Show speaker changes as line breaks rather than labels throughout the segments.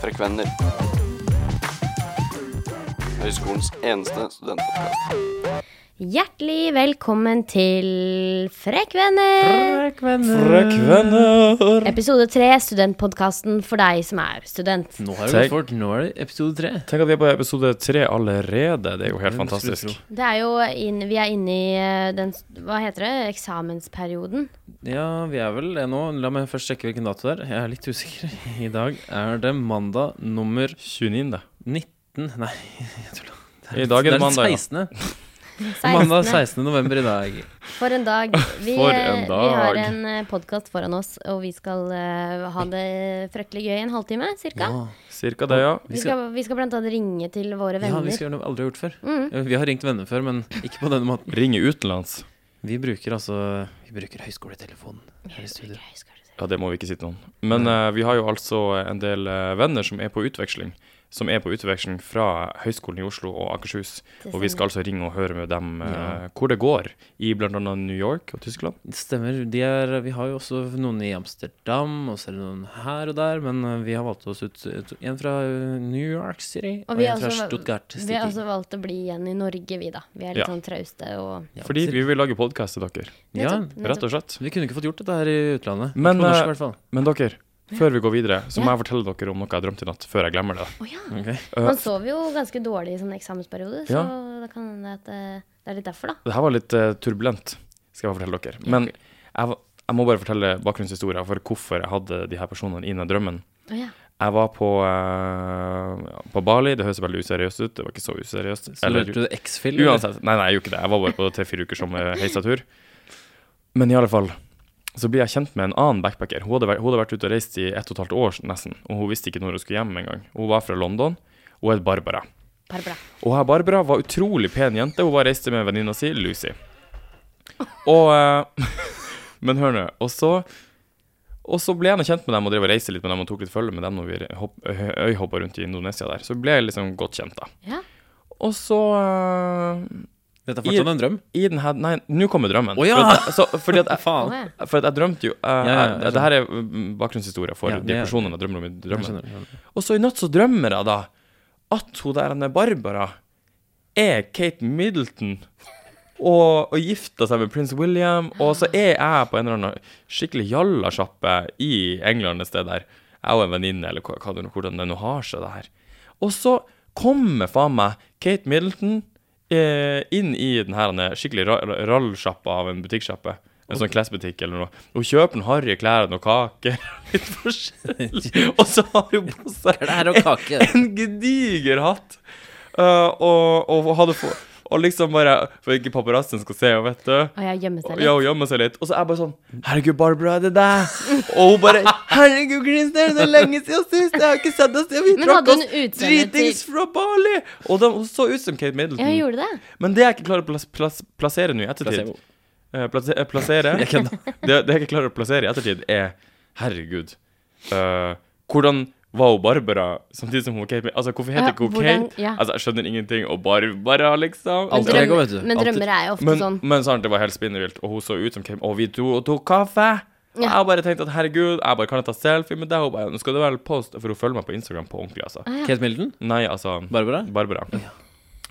Frekvenner. Høyskolens eneste studentpodkast.
Hjertelig velkommen til Frekkvenner!
Mm. Frekvenner.
Episode tre, studentpodkasten for deg som er student.
Nå har det
Tenk-
gått fort. Nå er det episode tre.
Tenk at vi er på episode tre allerede. Det er jo
Det
helt
skulle
fantastisk.
du
Det er jo inn, vi er inne i eh, den s- Hva heter det? Eksamensperioden.
Ja, vi er vel det nå. La meg først sjekke hvilken dato det er. Jeg er litt usikker. I dag er det mandag nummer
29.
19 Nei, jeg tulla.
I dag er det mandag, ja.
16.
16.
Mandag 16. november i dag.
For en dag. Vi,
For en
eh, vi
dag.
har en podkast foran oss, og vi skal eh, ha det fryktelig gøy i en halvtime cirka.
Ja,
Cirka det, ja.
Vi skal, vi skal blant annet ringe til våre
ja, vi
venner.
skal gjøre noe vi aldri har gjort før. Vi har ringt venner før, men ikke på denne måten.
Ringe utenlands.
Vi bruker altså Vi bruker høyskoletelefonen her i studio.
Gøy, skal du se.
Ja, det må vi ikke si til noen. Men eh, vi har jo altså en del eh, venner som er på utveksling. Som er på utveksling fra Høgskolen i Oslo og Akershus.
Det
Og vi
stemmer.
skal altså ringe og høre med dem eh,
Ja.
hvor det går, i bl.a. New York og Tyskland.
Det stemmer. De er, vi har jo også noen i Amsterdam, og så er det noen her og der, men eh, vi har valgt oss ut ut- en fra eh, New York City og,
Og vi
en
har
fra
også-
Stuttgart
Vi
City.
har også valgt å bli igjen i Norge, vi, da. Vi er litt
Ja.
sånn trauste og
Ja,
Fordi
så-
vi vil lage podkast til dere.
ja,
Nettopp, nettopp.
Rett og slett.
så vi kunne ikke fått gjort dette her i utlandet. ikke
Men,
på norsk,
eh,
i hvert fall.
Men dere, før vi går videre, så må
Ja.
jeg fortelle dere om noe jeg drømte i natt, før jeg glemmer det.
Å ja.
Ok.
Eh,
Man sover jo ganske dårlig i sånn eksamensperiode, så da kan det hende at eh, det er litt derfor, da.
Det her var litt eh, turbulent, skal jeg bare fortelle dere. Men jeg, var- jeg må bare fortelle bakgrunnshistorien for hvorfor jeg hadde de her personene i den drømmen.
Å ja.
Jeg var på, eh, ja, på Bali, det høres veldig useriøst ut, det var ikke så useriøst.
Så
Eller-
lurte du X-Fill? eller?
Uansett, nei, nei, jeg gjorde ikke det. Jeg var bare på tre-fire uker som eh, heisatur. Men i alle fall, så blir jeg kjent med en annen backpacker. Hun hadde, vært, hun hadde vært ute og reist i ett og et halvt år nesten, og hun visste ikke når hun skulle hjem engang. Hun var fra London, og het Barbara.
Barbara.
Og her Barbara var utrolig pen jente. Hun var reiste med venninna si, Lucy. Og eh, Men hør nå. Og så Og så ble jeg nå kjent med dem og drev og reiste litt med dem og tok litt følge med dem når vi hopp, ø- øyhoppa rundt i Indonesia der. Så ble jeg liksom godt kjent, da.
Ja.
Og så eh,
Dette er fortsatt
I-
en drøm?
i den her Nei, nå kommer drømmen.
Å, ja!
For at jeg- så, fordi at jeg,
Å,
Faen.
ja.
for at jeg drømte jo eh,
ja, jeg
jeg- Det her er mm, bakgrunnshistoria for
Ja,
de
det er-
personene jeg drømmer om i
Jeg
drømmen.
skjønner.
Og så i natt så drømmer jeg da at hun der henne Barbara er Kate Middleton og, og gifter seg med prins William, og så er jeg på en eller annen skikkelig jallasjappe i England et sted der. Jeg og en venninne, eller hva, hva det nå- hvordan det nå har seg, det her. Og så kommer faen meg Kate Middleton eh, inn i den her henne skikkelig ra- ra- rallsjappa av en butikksjappe. En sånn klesbutikk eller noe. Hun kjøper noen harry klær og noen kaker. Litt forskjellig. Og så har hun på seg
Klær og kake.
en gediger hatt. Eh, og, og hadde få, og liksom bare For ikke paparazzoen skal se, vet du.
Og jeg gjemmer seg
Ja,
litt.
hun gjemmer seg litt. Og så er jeg bare sånn Herregud, Barbara, er det deg? Og hun bare Herregud, Chris, det er så lenge siden sist! Jeg har ikke sett deg siden vi
Men
trakk
hadde hun
oss
utseende
dritings
til
fra Bali! Og de, hun så ut som
Ja,
Kate
hun
Middleton.
gjorde det.
Men det jeg ikke klarer å plas, plas, plassere nå i ettertid
Placebo.
eh, plase- eh, Plassere
Jeg kødda.
det, det jeg ikke klarer å plassere i ettertid, er Herregud. eh, hvordan var hun Barbara samtidig som hun var Kate? Mid- Altså, hvorfor heter
Ja,
ikke hun
hvordan-
Kate?
ja.
Altså, jeg skjønner ingenting. Og Barbara, liksom.
Men,
Alter
Altså,
ego, vet du.
drømmer, men
Alltid.
drømmer er jo ofte
men,
sånn.
men sant, det var helt spinnevilt, og hun så ut som Kate Og vi to og tok kaffe. Og
Ja.
jeg bare tenkte at herregud, jeg bare kan jeg ta selfie med deg? Hun bare, nå skal du vel post For hun følger meg på Instagram på ordentlig, altså.
Ah.
Kate Middleton?
Nei, altså
Barbara?
Barbara.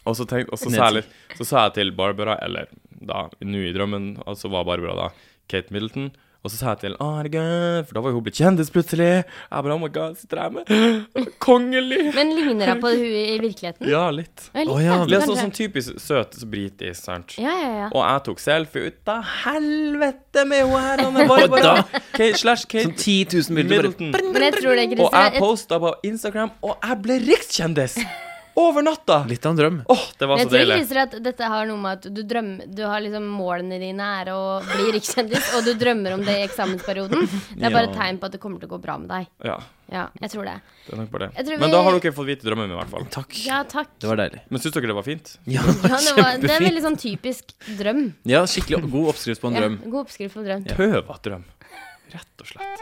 Og så, tenkte, og så, sa jeg litt, så sa jeg til Barbara, eller da, nå i drømmen, altså var Barbara da Kate Middleton. Og så sa jeg til Å, herregud, for da var jo hun blitt kjendis plutselig. Jeg bare, oh my god, sitter jeg med Kongelig!
Men ligner hun på hun i virkeligheten?
Ja, litt.
Ja, litt,
Å, ja.
da,
Litt
kanskje.
sånn sånn typisk søt britisk, sant.
Ja, ja, ja.
Og jeg tok selfie ut av helvete med hun her, Anne Barbara. Kate, slash
Sånn
Kate
10 000 bilder. Bare.
Middleton.
Men jeg tror det,
Og
Christer.
jeg
Jeg,
posta på Instagram, og jeg ble rikskjendis! Over natta!
Litt av en drøm.
Åh, det var
men jeg
så
tror
deilig.
Christer, at dette har noe med at du drømmer Du har liksom målene dine er å bli rikskjendis, og du drømmer om det i eksamensperioden. Det er bare
Ja.
et tegn på at det kommer til å gå bra med deg.
Ja,
Ja, jeg tror det.
det er nok bare
Jeg
det.
tror
Men
vi-
da har dere fått vite drømmen min, i hvert fall.
Takk.
Ja, takk.
Det var deilig.
Men syns dere det var fint?
Ja,
Ja, det, var, det er en
kjempefint.
veldig sånn typisk drøm.
Ja, skikkelig god oppskrift på en
Ja,
drøm.
god oppskrift på drøm.
Tøva drøm. Rett og slett.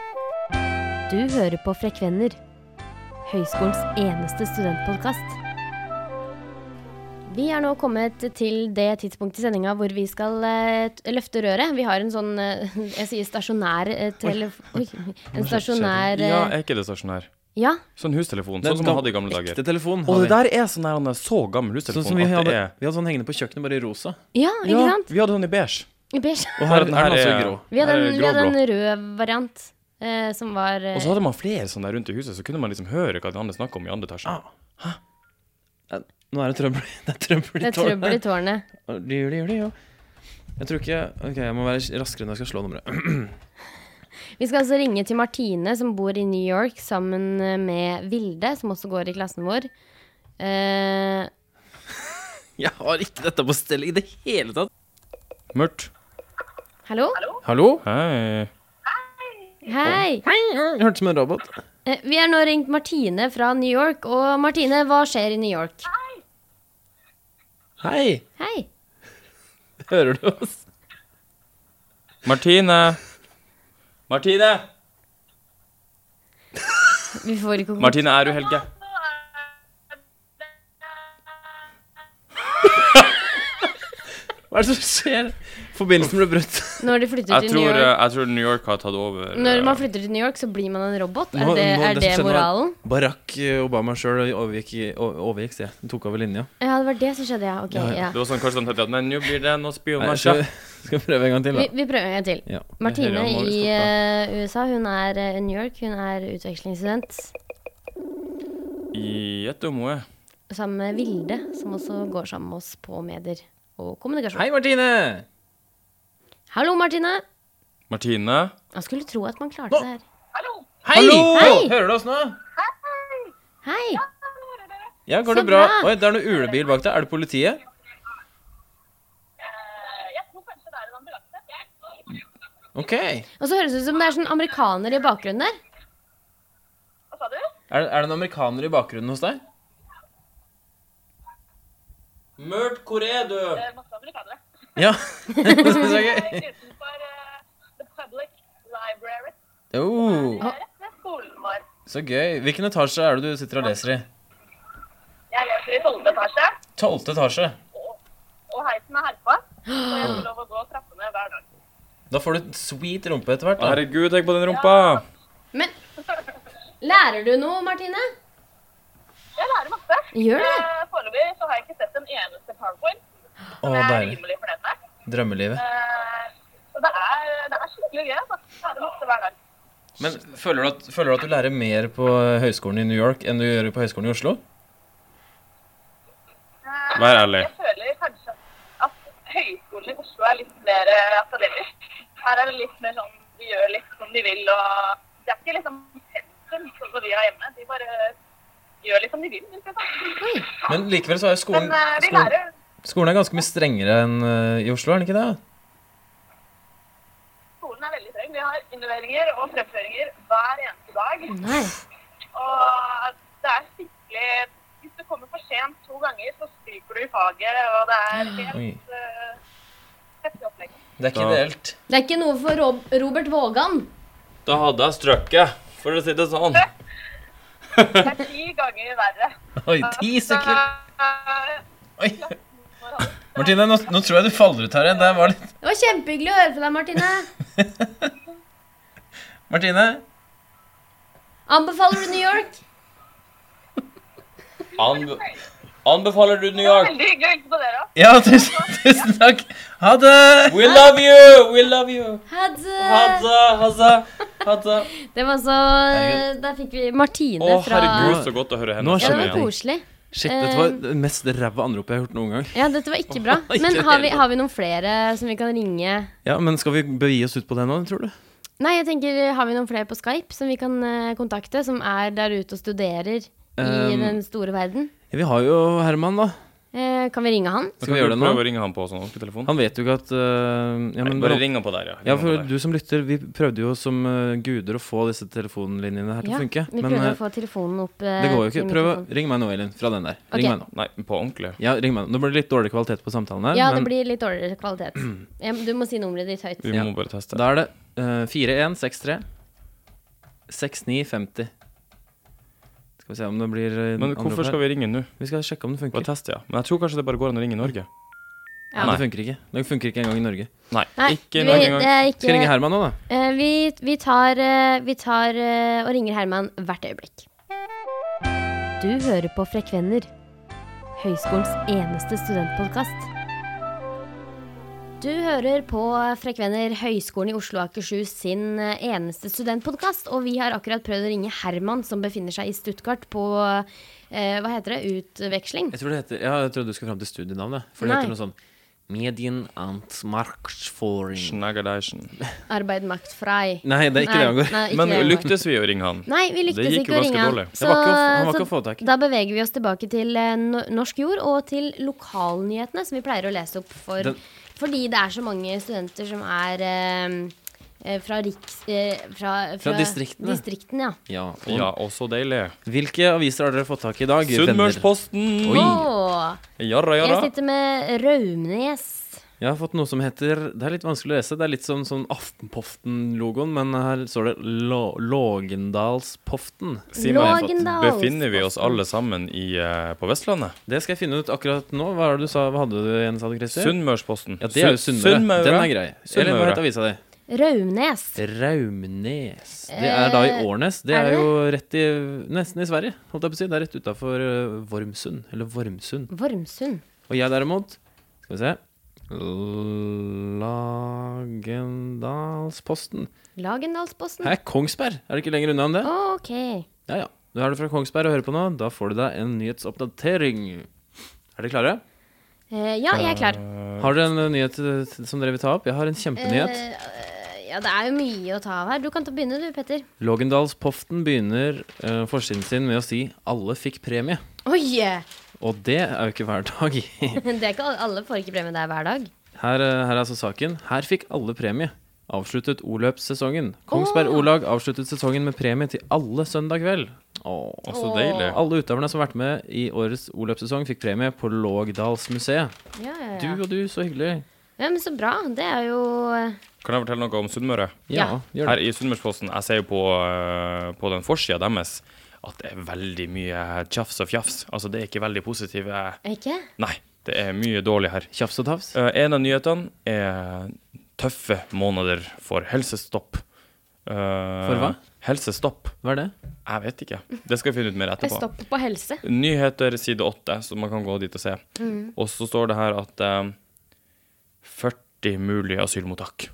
Du hører på Frekvenner, høyskolens eneste studentpodkast. Vi er nå kommet til det tidspunktet i sendinga hvor vi skal eh, t- løfte røret. Vi har en sånn eh, Jeg sier stasjonær eh, telef... Oi. En stasjonær
Ja,
eh,
er ikke det stasjonær?
Ja.
Sånn hustelefon, sånn som man hadde i gamle dager.
Ekte telefon.
Og
har
det
vi.
der er sånn der, han er så gammel
Sånn
hustelefon
som vi
at
hadde,
det er
vi hadde sånn hengende på kjøkkenet, bare i rosa.
ja, ikke
Ja,
sant?
vi hadde den i beige.
Beige.
Og her,
Den
er den også
er-
grå.
Vi hadde
her er
en, vi hadde
gråblå.
en rød variant eh, som var eh,
Og så hadde man flere sånne der rundt i huset, så kunne man liksom høre hva de andre snakka om i andre etasje.
Ah. Ja, Nå er det trøbbel Det er trøbbel i
et trøbbel i tårnet.
tårnet. Jeg tror ikke Ok, jeg må være raskere når jeg skal slå nummeret.
Vi skal altså ringe til Martine, som bor i New York, sammen eh, med Vilde, som også går i klassen vår. Eh,
Jeg har ikke dette på stell i det hele tatt.
Mørkt.
hallo?
Hallo?
Hei.
Hei!
Hørtes ut som en robot.
Eh, vi har nå ringt Martine fra New York. Og Martine, hva skjer i New York?
Hei!
Hei.
Hører du oss?
Martine. Martine!
Vi får ikke kontakt.
Martine, er du Helge?
Hva er det som skjer? Forbindelsen ble brutt.
Når de flytter
Jeg
til New
tror, eh,
York
jeg tror New York har tatt over.
Når
eh,
man flytter til New York, så blir man en robot? Er
Nå-
det,
nå-
er det
som skjedde var at
moralen?
Barack Obama sjøl overgikk, i- overgikk se. Han tok over linja.
Ja, det var det som skjedde, ja. Ok, ja.
Det var sånn kanskje de tenkte at Men nå blir det noe
Nei,
spionasje.
skal, skal vi prøve en gang til,
Vi,
da?
vi prøver en gang til.
Ja.
Martine
Hører om
i
Marius
eh, USA, hun er eh, New York. Hun er utvekslingsstudent
Gjett om hun er.
sammen med Vilde, som også går sammen med oss på medier og kommunikasjon.
Hei, Martine!
Hallo, Martine!
Martine?
Jeg skulle tro at man klarte det her.
Hei!
Hei!
Hører du oss nå?
Hei!
Ja, går
Så
det bra?
bra.
Oi, det er noe ulebil bak deg. Er det politiet?
Eh,
OK. Er,
Og så høres det ut som det er sånn amerikaner i bakgrunnen der.
er det en amerikaner i bakgrunnen hos deg?
Murt, hvor er du?
Ja. det synes jeg er gøy.
eh,
Oh, så gøy. Hvilken etasje er det du sitter og leser i?
Jeg leser i 12. etasje,
Tolvte etasje.
og heisen er herpa. Så jeg får lov å gå trappene hver dag.
Da får du et sweet rumpe etter hvert. da.
Herregud, tenk på den rumpa!
Men lærer du noe, Martine?
Jeg lærer masse.
Gjør det?
Eh, Foreløpig så har jeg ikke sett en eneste powerpoint.
Å,
Jeg er
deilig.
rimelig fornøyd med.
Drømmelivet.
Eh, Så det er, det er skikkelig gøy. altså. Jeg lærer masse hver dag.
Men føler du, at, føler du at du lærer mer på høyskolen i New York enn du gjør på høyskolen i Oslo?
Eh,
Vær ærlig.
Jeg føler kanskje at høyskolen i Oslo er litt mer eh, akademisk. Her er det litt mer sånn de gjør litt som de vil, og det er ikke liksom pensum sånn som vi har hjemme. De bare gjør litt som de vil. hvis jeg sa.
Men likevel så er jo skolen,
Men eh, vi
skolen,
lærer
skolen er ganske mye strengere enn eh, i Oslo, er den ikke det?
Skolen er veldig streng. Vi har innleveringer og fremføringer hver eneste dag.
Nei.
Og det er skikkelig Hvis du kommer for sent to ganger, så stryker du i faget, og det er
Oi.
helt eh, heftig opplegg.
Det er ikke
Da-
ideelt.
Det er ikke noe for Rob Robert Vågan.
Da hadde jeg strøkket, for å si det sånn.
Det er ti ganger verre.
Oi, ti stykker!
Eh,
Oi. Martine, nå, nå tror jeg du faller ut her igjen. Det var litt
Det var kjempehyggelig å høre fra deg, Martine.
Martine?
Anbefaler du New York?
Anbe anbefaler du New
det var
York?
veldig hyggelig å hilse på dere.
Ja, tusen, tusen takk. Ha det!
We love you! We love you!
Ha det.
Hadza, hadza, hadza.
Det var så
Herregud.
Der fikk vi Martine
Å,
fra
herregud, så godt å høre henne.
Nå
Ja, det var
stemme
skjønner jeg.
igjen.
koselig.
Shit,
dette var
det mest ræva anropet jeg har hørt noen gang.
Ja, dette var ikke bra.
Ikke
Men har vi,
heller.
har vi noen flere som vi kan ringe?
Ja, Men skal vi begi oss ut på det nå, tror du?
Nei, jeg tenker, har vi noen flere på Skype som vi kan eh, kontakte, som er der ute og studerer i
Um,
den store verden?
Ja, vi har jo Herman, da.
Eh, kan vi ringe han?
Skal vi gjøre det nå?
Prøv å ringe han på sånn ordentlig telefon.
Han vet jo ikke at øh, ja, men,
Bare ring han på der, ja. Ring
Ja,
han på
for
der.
du som lytter, vi prøvde jo som øh, guder å få disse telefonlinjene her til
Ja,
å funke.
vi
Men
prøver
øh,
å få telefonen opp. eh,
det går jo ikke.
til
Prøv å
mikrofonen.
Ring meg nå, Elin. Fra den der.
Ok.
Ring meg nå.
Nei, på ordentlig.
Ja, ring meg nå. Nå blir det litt dårlig kvalitet på samtalen her.
Ja, det
men
blir litt dårligere kvalitet. Ja, men Du må si nummeret ditt høyt.
Vi
Ja.
må bare teste.
da er det eh, øh, 4163 6950. Skal vi se om det blir
Men hvorfor skal vi ringe nå?
vi skal sjekke om det
Bare
funker.
teste, ja. Men jeg tror kanskje det bare går an å ringe i Norge.
Nei,
Ja.
det funker ikke. Det funker ikke engang i Norge.
Nei,
Nei,
ikke i
vi,
Norge
det
engang.
er
Skal jeg ringe
ikke
Herman nå, da?
Eh, Vi, vi tar, eh, vi tar eh, og ringer Herman hvert øyeblikk. Du hører på Frekvenner, høyskolens eneste studentpodkast. Du hører på Frekvenner, Høgskolen i Oslo og Akershus sin eh, eneste studentpodkast. Og vi har akkurat prøvd å ringe Herman, som befinner seg i Stuttgart på eh, Hva heter det? Utveksling?
Jeg tror det heter Ja, jeg trodde du skulle fram til studienavnet. For det
Nei.
heter noe sånn Medien and Marksforing.
Snaggerdeisen.
Arbeid macht frei.
Nei, det er ikke det han går.
Nei, ikke
Men
det han går.
lyktes vi å ringe han?
Nei, vi lyktes
gikk jo
ikke å
ganske
ringe han.
dårlig.
Det var ikke å f- han var ikke å få tak i.
da beveger vi oss tilbake til eh, no- norsk jord og til lokalnyhetene, som vi pleier å lese opp for.
Den-
Fordi det er så mange studenter som er eh, eh, fra, riks, eh, fra,
Fra distriktene.
distriktene, ja.
Ja, og
Ja, og så deilig.
Hvilke aviser har dere fått tak i i dag? venner?
Sunnmørsposten!
Oi.
Åh,
Jarra,
jeg
jarra.
sitter med Raumnes.
Jeg har fått noe som heter Det er litt vanskelig å lese. Det er litt som sånn Aftenpoften-logoen, men her står det Lå- Lågendalspoften.
Si meg,
Lågendals.
befinner vi oss alle sammen i, eh, på Vestlandet?
Det skal jeg finne ut akkurat nå. Hva, er det du sa? Hva hadde du igjen, sa du, Christer?
Sunnmørsposten.
Ja, det er jo
Sunn-
Sunnmøre. Den er grei. Eller hva
Sunnmøre.
het avisa di?
Raumnes.
Raumnes. Det er da i
Eh,
Årnes. Det
er
er
det
jo rett i Nesten i Sverige, holdt jeg på å si. Det er rett utafor eh, Vormsund. Eller Vormsund.
Vormsund.
Og jeg derimot Skal vi se Lagendalsposten.
Lagendalsposten.
Hæ, Kongsberg? Er det ikke lenger unna enn det?
Ok.
Ja, ja. Da er du fra Kongsberg og hører på nå. Da får du deg en nyhetsoppdatering. Er dere klare?
Eh, ja, jeg er klar.
Har dere en eh, nyhet eh, som dere vil ta opp? Jeg har en kjempenyhet.
Eh, ja, det er jo mye å ta av her. Du kan ta begynne du, Petter.
Lågendalspoften begynner eh, forsiden sin med å si 'alle fikk premie'.
Oi!
Og det er jo ikke hver dag.
Det er ikke alle, alle får ikke premie der hver dag.
Her, eh, her er altså saken. Her fikk alle premie. Avsluttet O-løpssesongen. Kongsberg O-lag avsluttet sesongen med premie til alle søndag kveld. Åh.
Å, så deilig.
Alle utøverne som har vært med i årets O-løpssesong, fikk premie på Lågdalsmuseet.
Ja, ja,
Du
ja.
og du, så hyggelig.
ja, men så bra. Det er jo
Kan jeg fortelle noe om Sunnmøre?
Ja, gjør
Her
det.
i Sunnmørsposten, jeg ser jo på, eh, på den forsida deres at det er veldig mye tjafs og fjafs. Altså, det er ikke veldig positive
Ikke?
Nei, det er mye dårlig her.
Tjafs og tafs.
Eh, en av nyhetene er tøffe måneder for helsestopp. for
hva?
Helsestopp.
Hva er det?
Jeg vet ikke. Det skal vi finne ut mer etterpå.
Stopp på helse.
Nyheter side 8, så man kan gå dit og se.
Mm.
Og så står det her at eh, 40 mulige asylmottak.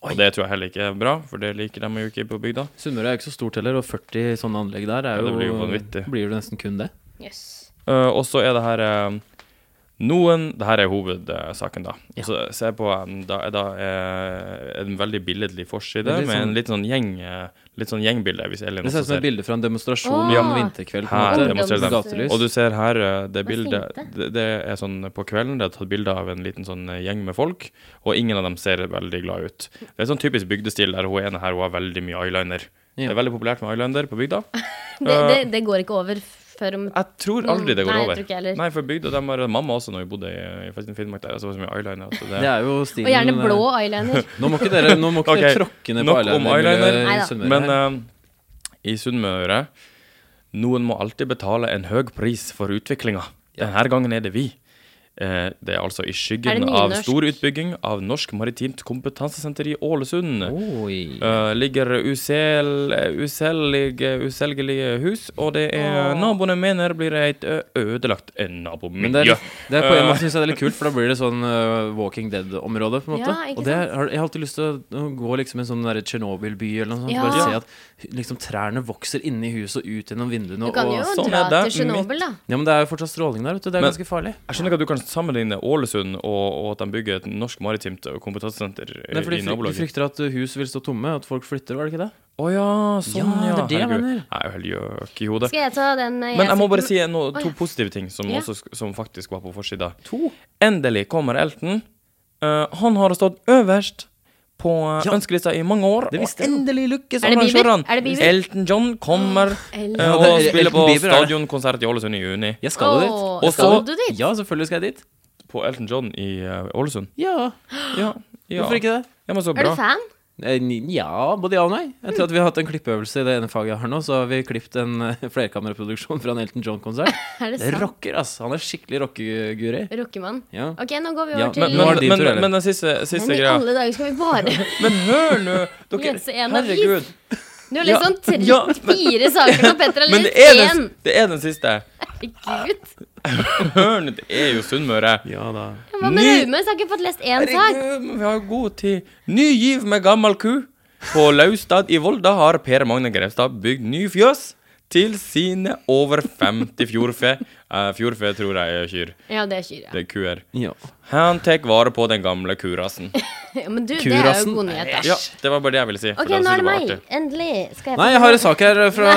Og det tror jeg heller ikke er bra, for det liker de jo ikke på bygda.
Sunnmøre er jo ikke så stort heller, og 40 sånne anlegg der er
Ja,
jo,
det blir jo vanvittig.
blir jo nesten kun det.
Jøss.
Eh, og så er det her eh, noen Det her er hovedsaken, da. Og Så se på eh, da, da er en veldig billedlig forside
Det er litt
med
sånn-
en litt sånn gjeng eh, Litt sånn gjengbilde, hvis Elin
Det ser ut
også
som et
ser.
bilde fra en
Åh!
demonstrasjon ja. en vinterkveld. på
Her
en måte.
demonstrerer de.
Gatelys.
Og du ser her eh, det
Hva
bildet
fint
det, det er sånn På kvelden det er tatt bilde av en liten sånn eh, gjeng med folk, og ingen av dem ser veldig glad ut. Det er sånn typisk bygdestil der hun ene her hun har veldig mye eyeliner.
Ja.
Det er veldig populært med eyeliner på bygda.
Det, det,
Eh,
det går ikke over før om
Jeg tror aldri det går
Mm, Nei, jeg
over.
tror ikke heller.
Nei, for bygda dem har Mamma også, når vi bodde i, i Finnmark der, så var det så mye eyeliner. at
Det er jo stilen eh,
Og gjerne blå
eh,
eyeliner.
Nå må ikke dere, nå må ikke dere
Ok,
tråkke ned på
nok om eyeliner.
eyeliner.
Neida.
Men eh, i Sunnmøre Noen må alltid betale en høy pris for utviklinga. Denne gangen er det vi. Eh, det er altså
Er
i
det
skyggen av
nynorsk?
stor utbygging av Norsk maritimt kompetansesenter i Ålesund.
Oh. Oi.
Eh, ligger usel, usellige, uselgelige hus, og det er naboene mener blir et ø- ødelagt
Men det
nabomiljø.
er, det er på
Eh.
en måte synes jeg det er litt kult, for da blir det sånn eh, Walking Dead-område. på en måte
Ja, ikke
Og det er, har- Jeg har alltid lyst til å gå liksom i en sånn derre Tsjernobyl-by eller noe sånt.
Ja.
Bare se at liksom trærne vokser inni huset og ut gjennom vinduene.
Du kan
og,
jo
sånn
dra
er
til
det.
Tsjernobyl, da.
Ja, Men det er jo fortsatt stråling der, vet du. Det er
Men-
ganske farlig.
Jeg skjønner ikke at du kan sammenligne Ålesund og, og at de bygger et norsk maritimt kompetansesenter eh,
Det er fordi
i
fry- de
nabolaget.
frykter at uh, hus vil stå tomme, at folk flytter, var det ikke det?
Å ja, sånn
Ja,
ja.
det er det jeg
herregud.
mener.
Jeg er jo helt gjøk i hodet.
Skal jeg ta den eh,
Men jeg må
sitter
bare
med?
si noe, to
Å, ja.
positive ting som,
Ja.
også, sk- som faktisk var på forsida.
To.
Endelig kommer Elton. Eh, han har stått øverst på eh,
Ja.
ønskelista i mange år.
Det visste
og
jeg.
endelig lykkes
Er det Bieber?
arrangørene.
Er det Bieber?
Elton John kommer
Elton.
eh,
Ja,
og
det er
spiller
Elton
på
Bieber, er det.
stadionkonsert i Ålesund i juni.
Jeg skal jo dit.
Åh,
Jeg
skal
jo-
du dit?
Ja, selvfølgelig skal jeg dit.
På Elton John i eh, Ålesund.
Ja.
Ja. ja.
Hvorfor ikke det?
Ja, men så
Er
bra.
du fan?
Eh, ni- Ja, både ja og nei. Etter at vi har hatt en klippeøvelse i det ene faget jeg har nå, så har vi klippet en eh, flerkameraproduksjon fra en Elton John-konsert.
Er det
Det
sant?
rocker, ass. Han er skikkelig rockeguri.
Rockemann.
Ja.
Ok, nå går vi over
Ja,
til
Men,
Nå er det
men,
din
men,
tur, eller?
men den siste,
Men
siste
i
greia
alle dager skal vi bare
Men hør nå! Dere,
Lese en avis.
herregud.
Du har lest
Ja,
sånn tre,
ja,
fire saker som Petter har
Men
lest
det er den,
én!
det er den siste.
Herregud.
Hør nå, det er jo Sunnmøre.
Ja da.
Hva med
Ny-
Raume? Så har jeg ikke fått lest én sak.
Herregud, men vi har jo god tid. Ny giv med gammel ku. På Laustad i Volda har Per Magne Grevstad bygd ny fjøs til sine over 50 fjordfe. Eh, fjordfe tror jeg er kyr.
Ja, det er kyr, ja.
Det er kuer.
Ja.
Han tar vare på den gamle kurasen.
ja. Men du, det er jo
Kurassen.
god nyhet, da.
Ja, det var bare det jeg ville si. for
Ok, nå
jeg synes
er det
var
meg.
artig.
Endelig skal jeg
Nei, jeg har en sak her fra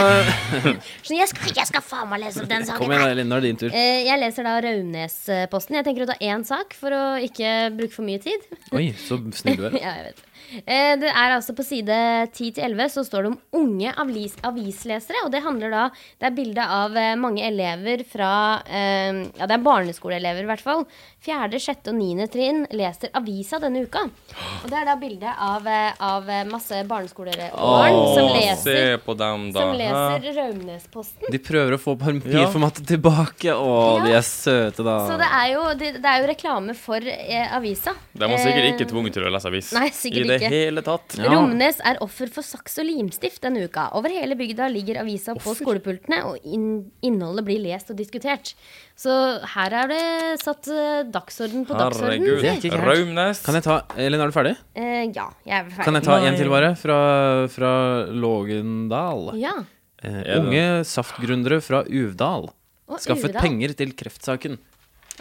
Så jeg skal, jeg skal faen meg lese opp den
Kom
saken.
igjen, Elin. Nå er det din tur.
Eh, Jeg leser da Raunæsposten. Jeg tenker å ta én sak for å ikke bruke for mye tid.
Oi, så snill du er.
ja, jeg vet. Eh, Det er altså på side 10-11 så står det om unge avis avislesere. Og det handler da Det er bilde av eh, mange elever fra eh, Ja, det er barneskoleelever, i hvert fall. Fjerde, sjette og niende trinn leser avisa denne uka. Og det er da bilde av, eh, av eh, masse barneskolebarn som
Åh,
leser,
Se på dem, da.
som leser Raunæsposten.
De prøver å få papirformatet tilbake. Å, de
Ja.
er søte, da.
Så det er jo, det, det er jo reklame for eh, avisa.
De var sikkert
Eh,
ikke tvunget til å lese avis.
Nei, sikkert
I det
ikke.
hele tatt.
Ja.
Romnes er offer for saks og limstift denne uka. Over hele bygda ligger avisa på skolepultene, og inn, innholdet blir lest og diskutert. Så her er det satt eh, dagsorden på dagsorden.
Herregud.
Det er ikke gærent.
Raumnes.
Kan jeg ta Elin, er du ferdig?
Eh, ja, jeg er ferdig.
Kan jeg ta
Nei.
en til, bare? Fra, fra Lågendal.
Ja.
Eh,
det-
unge saftgründere fra Uvdal
Og
skaffet
Uvdal.
penger til kreftsaken.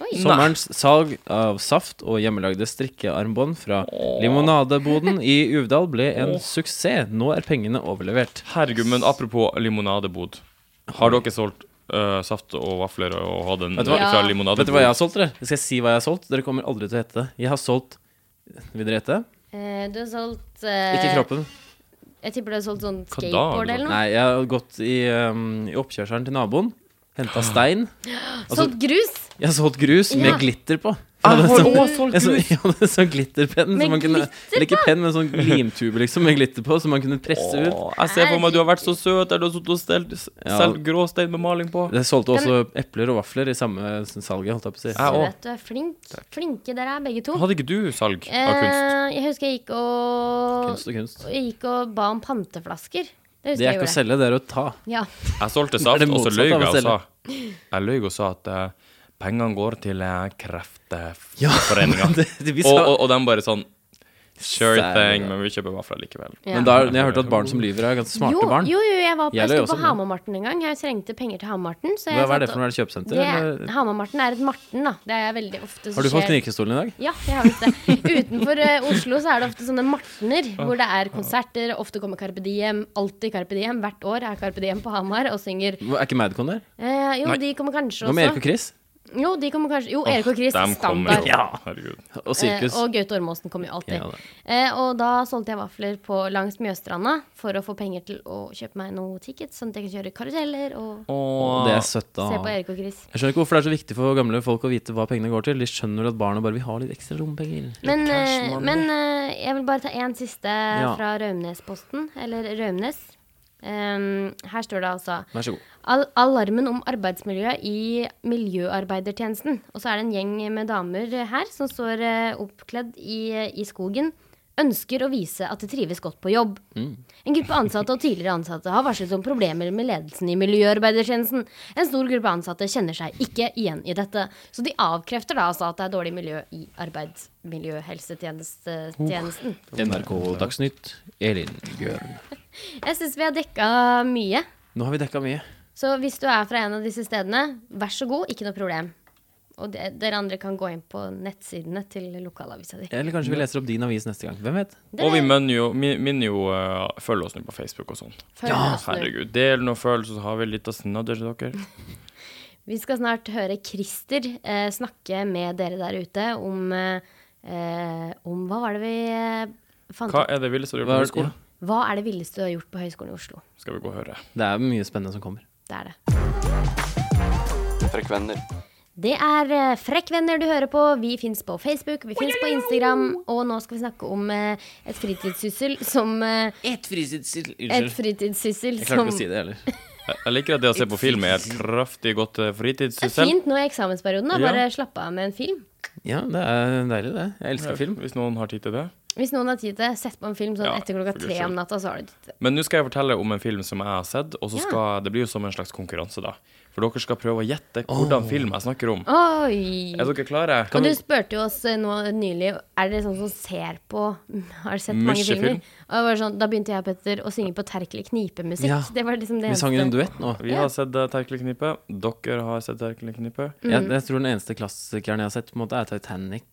Oi.
Sommerens salg av saft og hjemmelagde strikkearmbånd fra limonadeboden i Uvdal ble en suksess. Nå er pengene overlevert.
Herregud, men apropos limonadebod. Har dere solgt øh, saft og vafler og hatt en
Vet du hva-
fra
Ja.
limonadebod?
Vet dere hva jeg har solgt, dere? Skal jeg si hva jeg har solgt? Dere kommer aldri til å hete det. Jeg har solgt Vil dere hete?
Eh, du har solgt eh,
Ikke kroppen.
Jeg tipper du har solgt sånn
Hva da liksom? har
skateboard
du solgt?
eller noe.
Nei, jeg har gått i, um, i oppkjørselen til naboen,
Ah.
henta stein. altså-
solgt grus!
Jeg har solgt grus
Ja. Ah,
med glitter på.
Jeg har
Sånn-
også solgt
Jeg så-
grus.
Jeg hadde sånn glitterpenn.
Med
som man kunne,
glitter
eller ikke
på?
penn, men sånn limtube liksom, med glitter på, som man kunne presse ut.
Åh, jeg ser for meg du har vært så søt der du har sittet og stelt
Ja.
stelt gråstein med maling på.
Jeg solgte også epler og vafler i samme salget. holdt jeg på å si
Ja, og-
Søt, du er flink. Flinke dere er, begge to.
Hadde ikke du salg av kunst?
Eh, jeg husker jeg gikk og
Kunst og kunst.
Jeg gikk og ba om panteflasker. Det
Det
husker
er
jeg
ikke å
gjorde.
selge, det er å ta.
Ja.
Jeg solgte
Er
saft,
det
og så
motsatt
løy jeg
av å
og sa Jeg løy og sa at eh, pengene går til eh, Kreftforeninga.
det, det, vi
og, og,
sa,
og de bare sånn Sure
Særlig,
thing,
ja.
men vi kjøper vafler likevel.
Ja.
men da, jeg har hørt at barn som lyver, er ganske smarte
jo,
barn.
Jo, jo, jeg var på,
Jeg
jeg
løy
sto
også
på
nå.
Hamarmarten en gang. Jeg trengte penger til Hamarmarten. så jeg
Hva hva er det
satt
for noe? Er det
og-
kjøpesenter?
Det er-
eller?
Hamarmarten er et Marten, da. Det er veldig ofte så
Har du fått
skjer-
knirkestolen i dag?
Ja, jeg har visst det. Utenfor eh, Oslo så er det ofte sånne martener hvor det er konserter. Ofte kommer Carpe Diem. Alltid Carpe Diem. Hvert år er Carpe Diem på Hamar og synger
Hva- Er ikke Madcon der?
eh, Jo, de kommer kanskje
Hva med Erik og
også.
Chris?
Jo, de kommer kanskje Jo, Erik og Chris.
De kommer
Standard.
jo. Herregud.
Og Sirkus?
Eh, og Gaute Ormåsen kom jo alltid.
Ja, da.
eh, og da solgte jeg vafler på langs Mjøstranda for å få penger til å kjøpe meg noen tickets, sånn at jeg kan kjøre karuseller og
Og
Det er søtt, da.
se på Erik og Chris.
Jeg skjønner ikke hvorfor det er så viktig for gamle folk å vite hva pengene går til. De skjønner at barna bare vil ha litt ekstra lommepenger.
Men,
cash
eh,
money.
men eh, jeg vil bare ta én siste fra Raumnesposten, eller Raumnes. Em, her står det altså
Vær så god.
Al alarmen om arbeidsmiljøet i miljøarbeidertjenesten. Og så er det en gjeng med damer her som står eh, oppkledd i, i skogen. Ønsker å vise at de trives godt på jobb. En gruppe ansatte og tidligere ansatte har varslet om problemer med ledelsen i miljøarbeidertjenesten. En stor gruppe ansatte kjenner seg ikke igjen i dette. Så de avkrefter da altså at det er dårlig miljø i arbeidsmiljøhelsetjenesten.
NRK Dagsnytt, Elin Bjørn.
Jeg syns vi har dekka mye.
Nå har vi dekka mye.
Så hvis du er fra en av disse stedene, vær så god, ikke noe problem. Og de, dere andre kan gå inn på nettsidene til lokalavisa di.
Eller kanskje vi leser opp din avis neste gang. Hvem vet?
Det-
Og vi minner jo, min- minner jo eh, Følg oss nå på Facebook og sånn.
Følg oss nå.
Herregud. Del noen følelser, så har vi litt av snadder til dere.
Vi skal snart høre Christer eh, snakke med dere der ute om eh, eh, Om hva var det vi eh, fant
Hva
ut?
er det villeste du har
Hva
gjort
er-
på skolen?
Hva er det villeste du har gjort på Høgskolen i Oslo?
Skal vi gå og høre.
Det er mye spennende som kommer.
Det er det.
Frekvenner.
Det er eh, Frekk venner du hører på. Vi fins på Facebook, vi fins på Instagram. Og nå skal vi snakke om eh, et fritidssyssel som eh,
Et fritidssyssel
Et
Unnskyld.
fritidssyssel
Jeg klarte
som
ikke å si det heller.
Jeg jeg liker at det å se på film er et kraftig godt eh,
Det er
fritidssyssel.
fint nå i eksamensperioden. Da.
Ja.
Bare slappe av med en film.
Ja, det er deilig, det. Jeg elsker film.
Hvis noen har tid til det.
Hvis noen har tid til det, sett på en film sånn
Ja,
etter klokka
for guds
tre
skyld.
om natta, så har du tid til det.
Men nå skal jeg fortelle om en film som jeg har sett, og så
Ja.
skal, det blir jo som en slags konkurranse, da. For dere skal prøve å gjette hvordan film jeg snakker om. Er
Oi!
dere klare?
Og du spurte jo oss eh, nå nylig Er det sånn som ser på Har sett mange
Musjefilm?
filmer? Og det var sånn, da begynte jeg Petter, å synge på Terkelig knipemusikk.
Ja.
Det var liksom det
Vi sang jo en duett nå.
Vi har sett eh, Terkelknippe. Dere har sett Terkelknippe.
Mm.
Jeg, jeg tror den eneste klassikeren jeg har sett, på en måte er Titanic.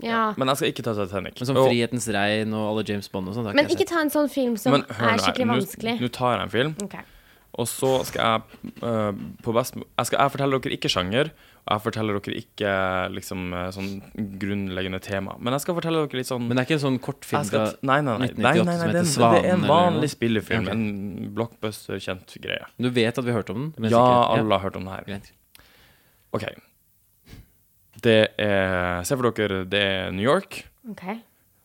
Ja.
Men jeg skal ikke ta Titanic.
Men sånn
Og-
Frihetens regn og alle James Bond og sånn.
Men ikke ta en sånn film som
men hør
er
nå her,
skikkelig
nå-
vanskelig.
Nå tar jeg en film,
Ok.
og så skal jeg eh, på best jeg, skal, jeg forteller dere ikke sjanger, og jeg forteller dere ikke liksom eh, sånn grunnleggende tema. Men jeg skal fortelle dere litt sånn
Men det er ikke en sånn kortfilm
Jeg skal,
fra
nei, nei, nei, nei,
1998 som heter
nei, det, er en-
Svanen.
det er en
eller noe.
vanlig spillefilm.
Ok.
En blockbuster-kjent greie.
Du vet at vi har hørt om den? men
Ja,
sikkert-
alle har hørt om det her.
Greit.
OK. Det er Se for dere, det er New York,
ok.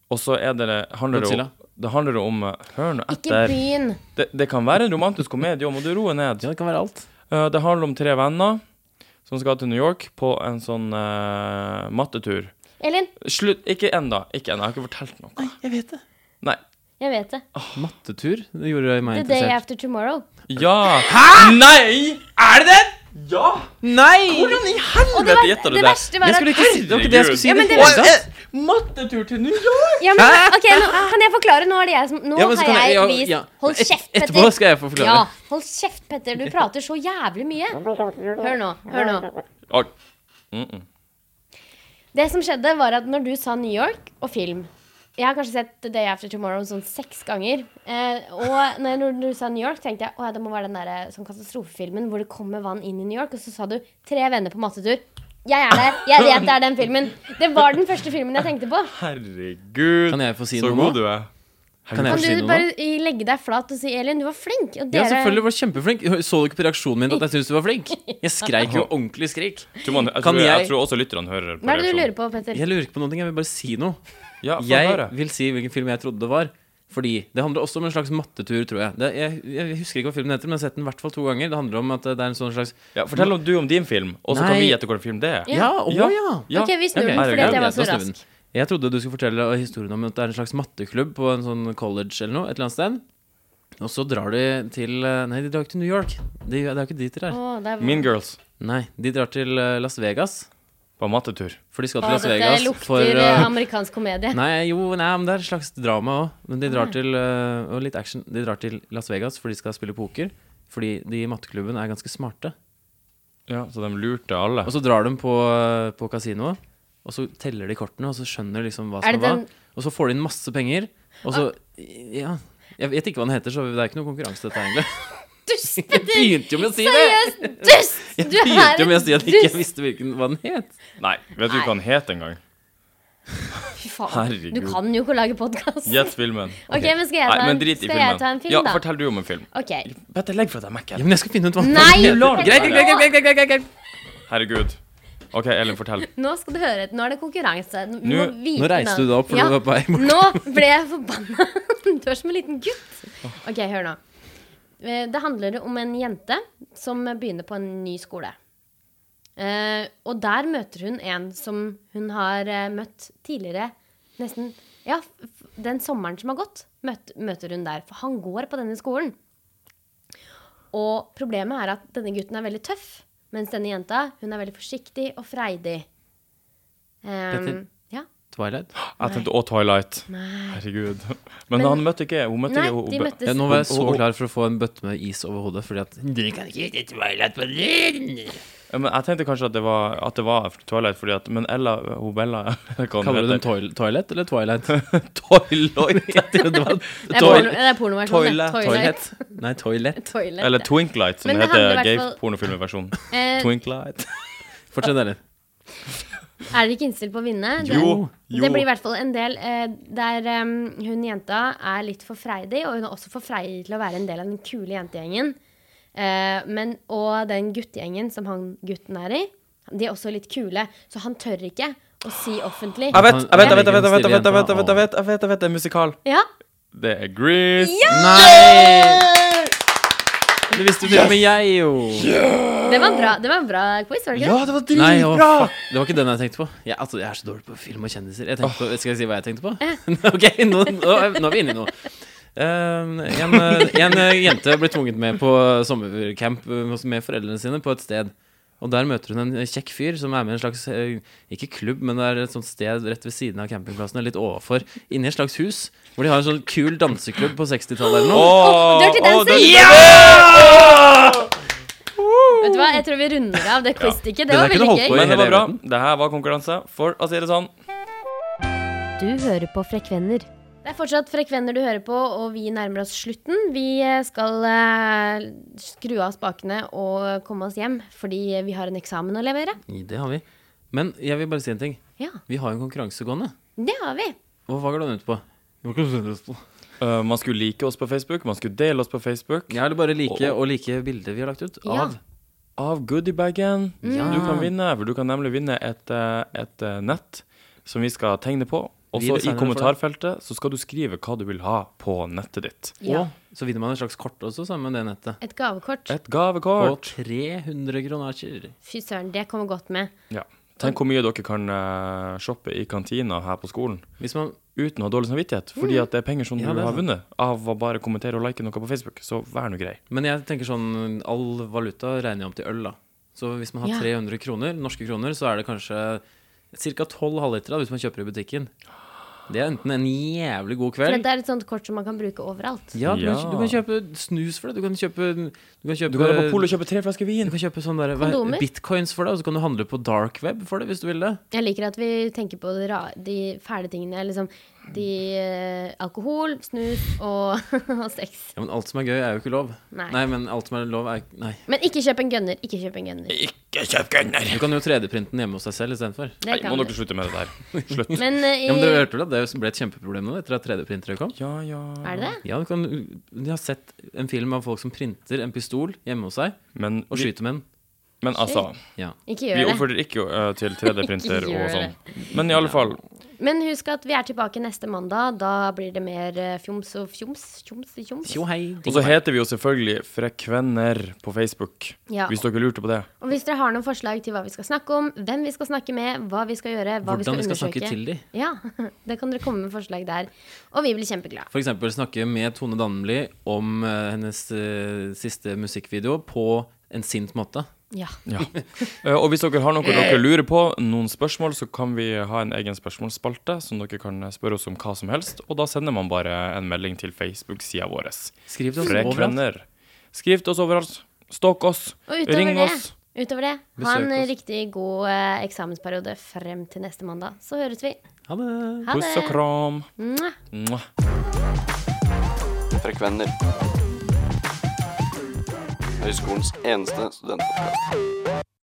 og så er det handler det
Godzilla.
om det handler om eh, Hør nå
Ikke
etter.
byen.
Det, det kan være en romantisk komedie, må du roe ned.
Ja, det kan være alt.
Eh, det handler om tre venner som skal til New York på en sånn eh, mattetur.
Elin,
Slutt. Ikke ennå. Ikke ennå. Jeg har ikke fortalt noe.
Jeg vet det.
Nei.
jeg vet det.
Mattetur det gjorde meg
The Day
interessert.
After Tomorrow.
Ja. Hæ?! Nei! Er det den?! Ja!
Nei!
Hvordan i helvete gjetta du
det
det?
verste var
Jeg
at-
skulle ikke si det. var ikke det jeg skulle si.
Ja,
i
men
det
det
hele
var-
tatt.
Mattetur til New York!
Ja, men, ok, nå, Kan jeg forklare? Nå, er det jeg som, nå
Ja, men så kan
har jeg
ja,
vist
ja.
Hold
Et-
kjeft, Petter.
Etterpå skal jeg få forklare.
Ja, hold kjeft, Petter. Du prater så jævlig mye. Hør nå. hør nå.
Og,
Det som skjedde, var at når du sa New York og film Jeg har kanskje sett The Day After Tomorrow sånn seks ganger. Eh, og når når du sa New York, tenkte jeg å, ja, det må være den der, eh, sånn katastrofefilmen hvor det kommer vann inn i New York. Og så sa du 'Tre venner på mattetur'. Jeg er der. Jeg vet det er den filmen. Det var den første filmen jeg tenkte på.
herregud,
Kan jeg få si
så
noe
god
nå?
du er.
Kan jeg
Kan
få si
du
noe nå?
bare i- legge deg flat og si 'Elin, du var flink'? Og
Ja,
dere-
selvfølgelig var du kjempeflink. Så du ikke på reaksjonen min at jeg syntes du var flink? Jeg skreik jo ordentlig skrik.
Jeg tror, man, jeg,
Kan
tror, jeg
jeg-
tror også lytterne hører på
Hva er det du
reaksjonen.
lurer på, Petter?
Jeg lurer ikke på noe, jeg vil bare si noe.
Ja, få
Jeg
høre.
vil si hvilken film jeg trodde det var. Fordi Det handler også om en slags mattetur, tror jeg. Det, jeg, jeg husker ikke hva filmen heter, men jeg har sett den i hvert fall to ganger. Det handler om at det er en sånn slags
Ja, fortell om du om din film, og så kan
Nei.
vi gjette hvilken film det er.
Ja.
Ja, å ja!
Ok, vi snur
Ok,
den, fordi
herregud,
at jeg var
greit, da
så
snur vi den.
rask.
Jeg trodde du skulle fortelle historien om at det er en slags matteklubb på en sånn college eller noe, et eller annet sted. Og så drar de til eh, Nei, de drar ikke til New York. De, det er jo ikke dit de drar.
Å, det er-
Mean Girls
Nei, de drar til eh, Las Vegas.
på mattetur.
For de skal
Å,
til Las
dette
Vegas
lukter
for
eh,
eh,
amerikansk komedie.
Nei, jo, nei, men det er et slags drama òg. Men de drar til eh, Og litt action. De drar til Las Vegas for de skal spille poker. Fordi de i matteklubben er ganske smarte.
Ja, så de lurte alle.
Og så drar de på, på kasinoet, og så teller de kortene, og så skjønner de liksom hva
Er
som er
det
hva.
den- Ah.
Og så får de inn masse penger, og så Ja. Jeg vet ikke hva den heter, så det er ikke noe konkurranse, dette, egentlig.
Dust,
Jeg begynte jo med å si det!
seriøst, dust!
Jeg
Du er
begynte jo med å
en
si at jeg ikke
dust.
visste hvilken, hva den het.
Nei, vet
Nei.
du ikke hva den het engang?
Fy faen.
Herregud.
Du kan jo ikke lage podkast.
Gjett filmen.
Ok, men skal jeg
Nei,
ta en,
men drit i
skal jeg
filmen.
ta en film,
ja,
da?
fortell du om en film.
Ok.
Petter, legg fra
Ja,
deg Mac-en.
men jeg skal finne ut hva den
Nei!
heter.
Fortell
Greit, greit, greit, greit, greit, greit, greit.
Herregud. OK, Elin, fortell.
Nå skal du høre. Nå er det konkurranse. Du må
Nå-
vite
Nå reiste
navn.
du deg opp, for
Ja.
du var på vei bort.
Nå ble jeg forbanna. Du er som en liten gutt. Ok, hør nå. Eh, Det handler om en jente som begynner på en ny skole. Eh, og der møter hun en som hun har eh, møtt tidligere nesten Ja, f- den sommeren som har gått, møt, møter hun der. For han går på denne skolen. Og problemet er at denne gutten er veldig tøff, mens denne jenta hun er veldig forsiktig og freidig. Um,
Petter?
Ja.
Twilight.
Jeg tenkte òg Twilight. Herregud. Men,
Men-
han møtte ikke Hun møtte
Nei,
ikke hun-
de møttes
Ja, nå var jeg så klar for å få en bøtte med is over hodet, fordi at Du kan ikke hete Twilight på den!
Ja, Men jeg tenkte kanskje at det var, at det var Twilight, fordi at Men Ella hun Bella hva
Kaller
hun
du den
heter.
toil- Toilet eller Twilight?
Twilight?
Jeg trodde det var
Det er, porno,
toil-
det er pornoversjonen. det. Toilet.
Toilet.
Toilet. Nei, Toilet.
Toilet.
Eller Twinklight, som
Men
det
det handler i
heter
hvert
gay
fall-
pornofilmversjonen.
Eh,
Twinklight.
Fortsett, dere.
er dere ikke innstilt på å vinne? Det-
Jo, jo.
Det blir i hvert fall en del eh, der em, hun jenta er litt for freidig, og hun er også for freidig til å være en del av den kule jentegjengen. Eh, men, og den guttegjengen som han gutten er i, De er også litt kule, så han tør ikke å si offentlig.
Jeg vet, jeg vet, jeg
Ja.
vet, jeg vet, jeg vet, jeg vet, jeg vet, jeg vet, jeg vet, jeg vet, jeg vet, det er musikal.
Ja,
Det er Grease.
Nei! Det visste jo til og med jeg, jo.
det var en bra, det var en bra quiz, var det ikke?
Ja, det var
Nei, å,
dritbra!
fuck. Det var ikke den jeg tenkte på. Jeg, altså, jeg er så dårlig på film og kjendiser. Jeg tenkte på, skal jeg si hva jeg tenkte på? ok, nå, nå, er- nå er vi inne i noe. Um, en, eh, en eh, jente ble tvunget med på sommercamp eh, hos- med foreldrene sine på et sted. Og der møter hun en eh, kjekk fyr som er med i en slags eh, Ikke klubb, men det er et sånt sted rett ved siden av campingplassen, eller litt overfor. Inni et slags hus, hvor de har en sånn kul danseklubb på 60-tallet eller noe.
Åh, Dirty
åh,
Dancing!
Dirty-
Vet du hva, jeg tror vi runder av det quizstykket. Det
Det der
var
kunne
veldig
holdt på
gøy.
i-
Men det
hele
var bra.
verden.
Det her var konkurranse, for å si det sånn.
Du hører på Frekvenner. Det er fortsatt Frekvenner du hører på, og vi nærmer oss slutten. Vi eh, skal eh, skru av spakene og komme oss hjem, fordi vi har en eksamen å levere.
Det har vi. Men jeg vil bare si en ting.
Ja,
Vi har jo en konkurranse gående.
det har vi.
Og Hva går den ut på?
Øh, man skulle like oss på Facebook, man skulle dele oss på Facebook.
Ja, eller bare like og like bilder vi har lagt ut
Ja.
av
Av goodiebagen.
Mm.
Du kan vinne, for du kan nemlig vinne et, eh, et eh, nett som vi skal tegne på. Og
Vi
så i
designer for deg.
kommentarfeltet så skal du skrive hva du vil ha på nettet ditt.
Ja.
Og så vinner man et slags kort også sammen med det nettet.
Et gavekort.
Et
På
gavekort.
300 kronasjer.
Fy søren, det kommer godt med.
Ja. Tenk hvor mye dere kan eh, shoppe i kantina her på skolen
Hvis man
uten å ha dårlig samvittighet,
Mm.
fordi at det er penger som
Ja,
du
det er
har
sant.
vunnet av å bare kommentere og like noe på Facebook. Så vær nå grei.
Men jeg tenker sånn All valuta regner jeg om til øl, da. Så hvis man har
Ja.
300 kroner, norske kroner, så er det kanskje ca. 12 halvlitere hvis man kjøper i butikken. Det er enten en jævlig god
For
kveld
det er et sånt kort som man kan bruke overalt.
ja, du,
Ja.
Kan, du kan kjøpe snus for det. Du kan kjøpe Du kan kjøpe,
Du kan dra på polet og kjøpe tre flasker
Du
vin.
kan kjøpe sånne der, hva-
Kondomer.
bitcoins for det, og så kan du handle på dark web for det hvis du vil det.
Jeg liker at vi tenker på de, ra de fæle tingene. Liksom de eh, alkohol, snus og, og sex.
Ja, Men alt som er gøy, er jo ikke lov.
Nei.
men alt som er lov, er Nei.
Men ikke kjøp en gunner. Ikke kjøp en gunner.
Ikke kjøp gunner!
Du kan jo 3D-printe den hjemme hos deg selv istedenfor.
Det
Nei,
kan
må
du.
dere slutte med det der. Slutt.
Men, eh, i,
Ja, men dere hørte vel at det ble et kjempeproblem nå etter at 3D-printere kom?
Ja, ja.
er det det?
Ja, du kan Jeg har sett en film av folk som printer en pistol hjemme hos seg,
Men,
og
vi,
skyter med den.
men altså,
Ja.
Ikke
vi
gjør det.
oppfordrer ikke øh, til 3D-printer
Ikke
og
gjør
sånn. Men i alle fall,
Men husk at vi er tilbake neste mandag. Da blir det mer eh, fjoms og fjoms. Fjoms og fjoms.
Tjo hei.
Og så heter vi jo selvfølgelig Frekvenner på Facebook,
Ja.
hvis dere lurte på det.
Og hvis dere har noen forslag til hva vi skal snakke om, hvem vi skal snakke med, hva vi skal gjøre, hva
Hvordan vi skal snakke
undersøke
til de.
Ja, det kan dere komme med forslag der. Og vi blir kjempeglade.
For eksempel snakke med Tone Dannemli om eh, hennes eh, siste musikkvideo på en sint måte.
Ja.
Eh, Og hvis dere har noe dere lurer på, noen spørsmål, så kan vi ha en egen spørsmålsspalte som dere kan spørre oss om hva som helst. Og da sender man bare en melding til Facebook-sida vår.
Skriv det oss overalt.
Frekvenner. Skriv til oss overalt. Stalk oss.
Og utover
Ring
det,
oss.
utover det ha en
Besøk oss.
riktig god eh, eksamensperiode frem til neste mandag. Så høres vi.
Ha det.
Ha
Puss og
det.
kram.
Mwah.
Mwah.
Frekvenner. Høyskolens eneste studentpodkast.